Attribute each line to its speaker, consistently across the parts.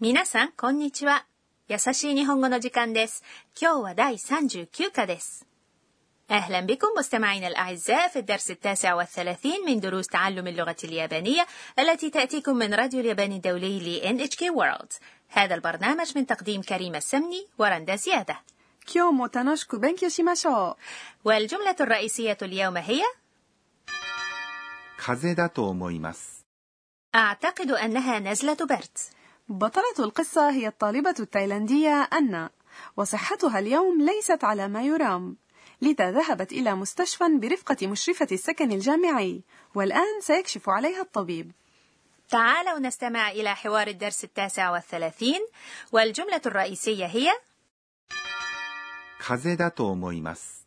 Speaker 1: 皆さん、こんにちは。優しい日本語の時間です。今日は第39課です。أهلا بكم مستمعينا الأعزاء في الدرس التاسع والثلاثين من دروس تعلم اللغة اليابانية التي تأتيكم من راديو اليابان الدولي ل NHK World هذا البرنامج من تقديم كريم السمني ورندا زيادة
Speaker 2: 今日も楽しく勉強しましょ
Speaker 1: う والجملة الرئيسية اليوم هي
Speaker 3: 風邪だと思います
Speaker 1: أعتقد أنها نزلة برد
Speaker 2: بطلة القصة هي الطالبة التايلاندية أنا وصحتها اليوم ليست على ما يرام لذا ذهبت إلى مستشفى برفقة مشرفة السكن الجامعي والآن سيكشف عليها الطبيب
Speaker 1: تعالوا نستمع إلى حوار الدرس التاسع والثلاثين والجملة الرئيسية هي
Speaker 3: 風邪だと思います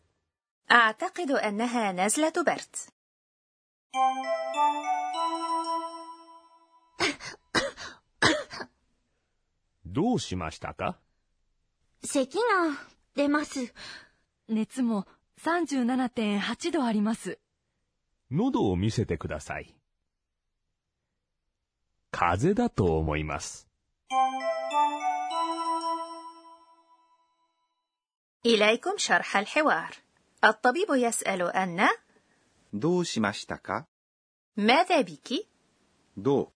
Speaker 1: أعتقد أنها نزلة برد
Speaker 4: どうしましたか
Speaker 5: 咳が出ます。
Speaker 6: 熱も37.8度あります。
Speaker 4: 喉を見せてください。風邪だと思います。
Speaker 1: إليكم شرح الحوار. الطبيب يسأل أن
Speaker 3: どうしましたか
Speaker 1: ماذا بك؟
Speaker 3: どう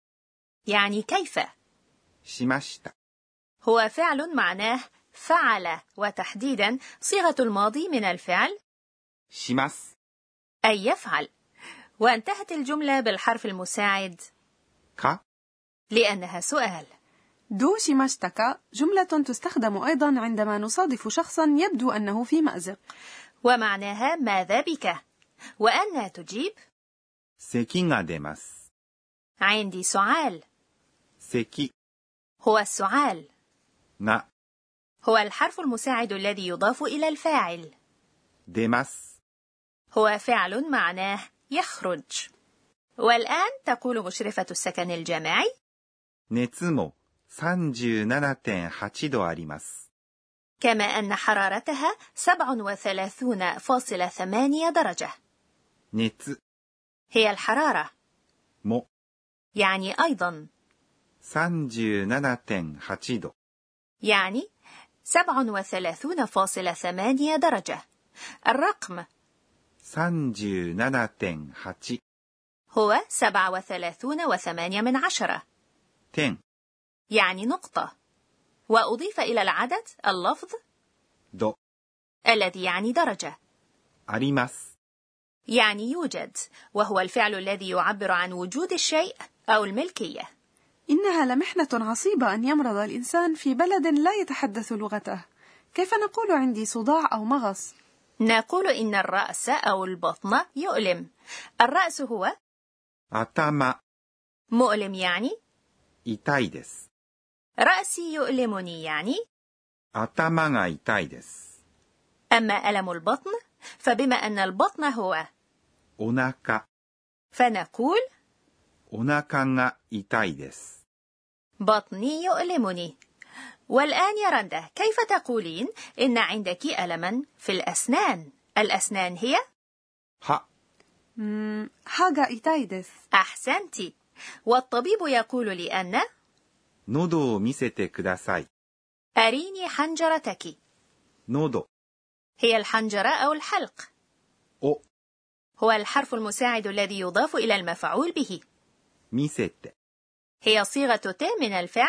Speaker 1: يعني كيف؟
Speaker 3: しました。
Speaker 1: هو فعل معناه فعل وتحديدا صيغة الماضي من الفعل
Speaker 3: します
Speaker 1: أي يفعل وانتهت الجملة بالحرف المساعد
Speaker 3: か
Speaker 1: لأنها سؤال
Speaker 2: دو شيماشتاكا جملة تستخدم أيضا عندما نصادف شخصا يبدو أنه في مأزق
Speaker 1: ومعناها ماذا بك وأن تجيب
Speaker 3: 咳が出ます
Speaker 1: عندي سعال
Speaker 3: 咳
Speaker 1: هو السعال
Speaker 3: が
Speaker 1: هو الحرف المساعد الذي يضاف إلى الفاعل
Speaker 3: 出ます
Speaker 1: هو فعل معناه يخرج والآن تقول مشرفة السكن الجامعي
Speaker 3: 熱も37.8度あります
Speaker 1: كما أن حرارتها 37.8 درجة
Speaker 3: 熱
Speaker 1: هي الحرارة
Speaker 3: も
Speaker 1: يعني أيضا
Speaker 3: 37.8度
Speaker 1: يعني 37.8 درجة الرقم
Speaker 3: 37.8
Speaker 1: هو 37 وثمانية من عشرة
Speaker 3: 点
Speaker 1: يعني نقطة وأضيف إلى العدد اللفظ
Speaker 3: 度
Speaker 1: الذي يعني درجة
Speaker 3: あります
Speaker 1: يعني يوجد وهو الفعل الذي يعبر عن وجود الشيء أو الملكية
Speaker 2: إنها لمحنة عصيبة أن يمرض الإنسان في بلد لا يتحدث لغته. كيف نقول عندي صداع أو مغص؟
Speaker 1: نقول إن الرأس أو البطن يؤلم. الرأس هو
Speaker 3: 頭
Speaker 1: مؤلم يعني
Speaker 3: 痛いです
Speaker 1: رأسي يؤلمني يعني
Speaker 3: 頭が痛いです
Speaker 1: أما ألم البطن فبما أن البطن هو
Speaker 3: お腹
Speaker 1: فنقول
Speaker 3: お腹が痛いです
Speaker 1: بطني يؤلمني والآن يا رندا كيف تقولين إن عندك ألما في الأسنان الأسنان هي
Speaker 3: 歯
Speaker 2: مم، حاجة إيتايدس
Speaker 1: أحسنت والطبيب يقول لأن
Speaker 3: 喉を見せてください
Speaker 1: أريني حنجرتك
Speaker 3: 喉
Speaker 1: هي الحنجرة أو الحلق
Speaker 3: を
Speaker 1: هو الحرف المساعد الذي يضاف إلى المفعول به
Speaker 3: 見せて
Speaker 1: هي صيغة ت من الفعل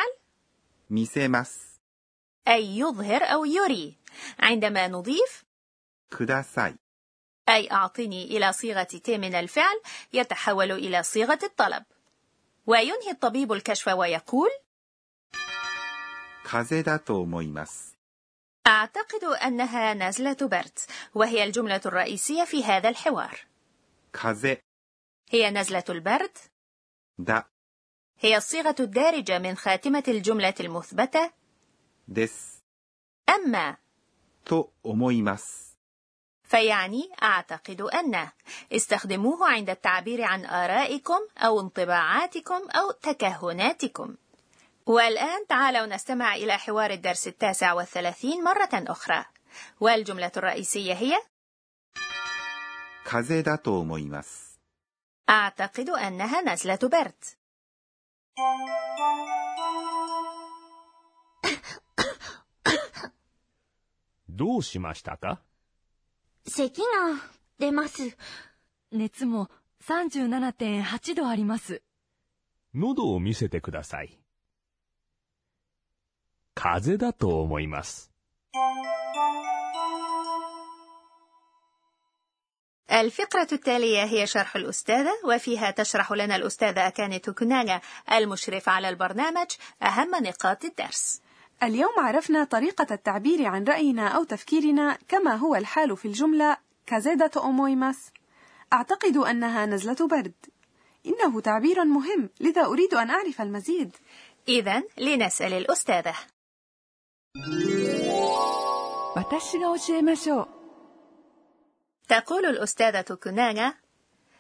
Speaker 3: 見せます
Speaker 1: أي يظهر أو يري عندما نضيف
Speaker 3: ください
Speaker 1: أي أعطني إلى صيغة ت من الفعل يتحول إلى صيغة الطلب وينهي الطبيب الكشف ويقول
Speaker 3: 風邪だと思います
Speaker 1: أعتقد أنها نزلة برد وهي الجملة الرئيسية في هذا الحوار
Speaker 3: 風邪
Speaker 1: هي نزلة البرد
Speaker 3: だ
Speaker 1: هي الصيغة الدارجة من خاتمة الجملة المثبتة
Speaker 3: です
Speaker 1: أما
Speaker 3: と思います
Speaker 1: فيعني أعتقد أن استخدموه عند التعبير عن آرائكم أو انطباعاتكم أو تكهناتكم والآن تعالوا نستمع إلى حوار الدرس التاسع والثلاثين مرة أخرى والجملة الرئيسية هي
Speaker 3: 風邪だと思います
Speaker 1: أعتقد أنها نزلة برد
Speaker 4: どうしましたか
Speaker 5: 咳が出ます。
Speaker 6: 熱も37.8度あります。
Speaker 4: 喉を見せてください。風邪だと思います。
Speaker 1: الفقرة التالية هي شرح الأستاذة وفيها تشرح لنا الأستاذة أكاني توكوناغا المشرفة على البرنامج أهم نقاط الدرس
Speaker 2: اليوم عرفنا طريقة التعبير عن رأينا أو تفكيرنا كما هو الحال في الجملة كازادا أومويماس أعتقد أنها نزلة برد إنه تعبير مهم لذا أريد أن أعرف المزيد
Speaker 1: إذا لنسأل الأستاذة
Speaker 6: 私が教えましょう。
Speaker 1: تقول الأستاذة توكوناغا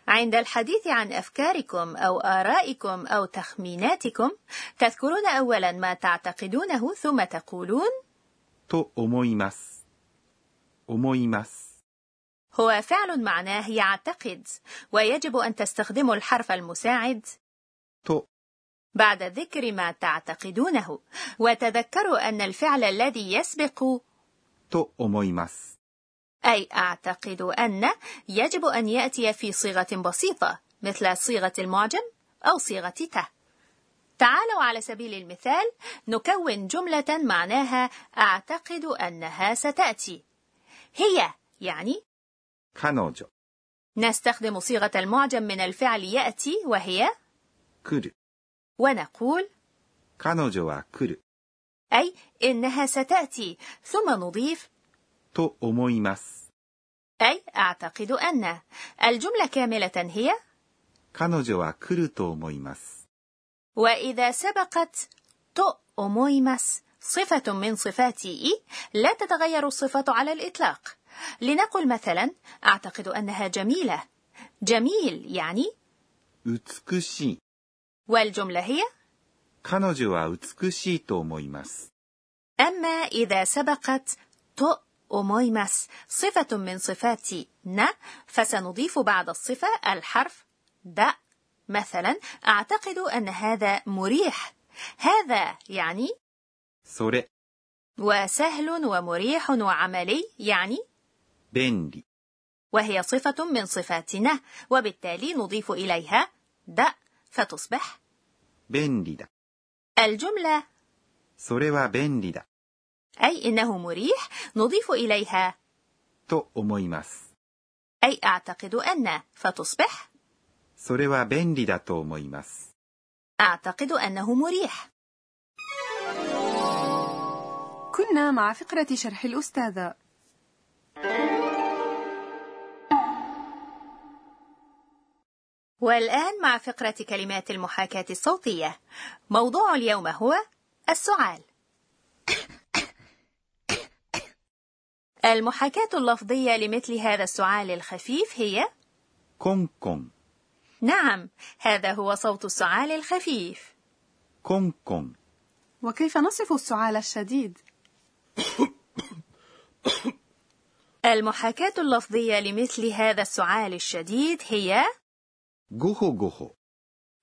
Speaker 1: عند الحديث عن أفكاركم أو آرائكم أو تخميناتكم تذكرون أولا ما تعتقدونه ثم تقولون
Speaker 3: と思います。思います。
Speaker 1: هو فعل معناه يعتقد ويجب أن تستخدموا الحرف المساعد
Speaker 3: と
Speaker 1: بعد ذكر ما تعتقدونه وتذكروا أن الفعل الذي يسبق
Speaker 3: と思います。
Speaker 1: أي أعتقد أن يجب أن يأتي في صيغة بسيطة مثل صيغة المعجم أو صيغة ته. تعالوا على سبيل المثال نكون جملة معناها أعتقد أنها ستأتي. هي يعني
Speaker 3: 彼女、
Speaker 1: نستخدم صيغة المعجم من الفعل يأتي وهي
Speaker 3: 来る。
Speaker 1: ونقول
Speaker 3: 彼女は来る。
Speaker 1: أي إنها ستأتي ثم نضيف
Speaker 3: と思います。
Speaker 1: أي أعتقد أن الجملة كاملة هي
Speaker 3: 彼女は来ると思います。
Speaker 1: وإذا سبقت تو أمويمس صفة من صفات إي لا تتغير الصفة على الإطلاق لنقل مثلا أعتقد أنها جميلة جميل يعني
Speaker 3: 美しい。
Speaker 1: والجملة هي
Speaker 3: 彼女は美しいと思います。
Speaker 1: أما إذا سبقت تو أمويمس صفة من صفات ن فسنضيف بعد الصفة الحرف د مثلا أعتقد أن هذا مريح هذا يعني
Speaker 3: それ、
Speaker 1: وسهل ومريح وعملي يعني
Speaker 3: 便利。
Speaker 1: وهي صفة من صفاتنا وبالتالي نضيف إليها د فتصبح
Speaker 3: 便利だ。
Speaker 1: الجملة
Speaker 3: それは便利だ。
Speaker 1: أي إنه مريح نضيف إليها
Speaker 3: と思います。
Speaker 1: أي أعتقد أن فتصبح
Speaker 3: それは便利だと思います。
Speaker 1: أعتقد أنه مريح
Speaker 2: كنا مع فقرة شرح الأستاذة
Speaker 1: والآن مع فقرة كلمات المحاكاة الصوتية موضوع اليوم هو السعال المحاكاة اللفظية لمثل هذا السعال الخفيف هي
Speaker 3: コンコン、
Speaker 1: نعم هذا هو صوت السعال الخفيف
Speaker 3: コンコン、
Speaker 2: وكيف نصف السعال الشديد؟
Speaker 1: المحاكاة اللفظية لمثل هذا السعال الشديد هي
Speaker 3: ごほごほ、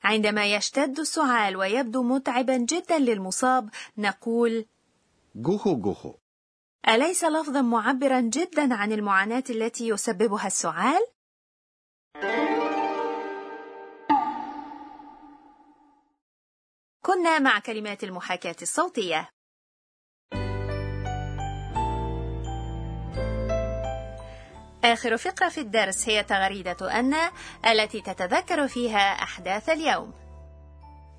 Speaker 1: عندما يشتد السعال ويبدو متعبا جدا للمصاب نقول
Speaker 3: ごほごほ、
Speaker 1: أليس لفظا معبرا جدا عن المعاناة التي يسببها السعال؟ كنا مع كلمات المحاكاة الصوتية آخر فقرة في الدرس هي تغريدة أن التي تتذكر فيها أحداث اليوم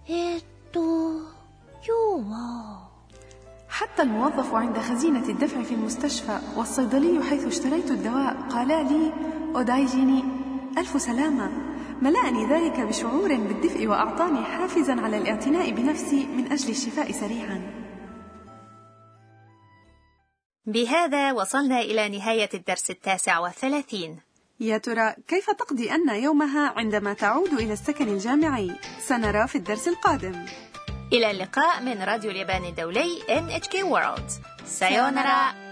Speaker 5: えーっと、今日は、
Speaker 2: حتى الموظف عند خزينة الدفع في المستشفى والصيدلي حيث اشتريت الدواء قالا لي أودايجيني ألف سلامة ملأني ذلك بشعور بالدفء وأعطاني حافزا على الاعتناء بنفسي من أجل الشفاء سريعا
Speaker 1: بهذا وصلنا إلى نهاية الدرس التاسع والثلاثين
Speaker 2: يا ترى كيف تقضي أن يومها عندما تعود إلى السكن الجامعي؟ سنرى في الدرس القادم
Speaker 1: إلى اللقاء من راديو اليابان الدولي NHK World سايونارا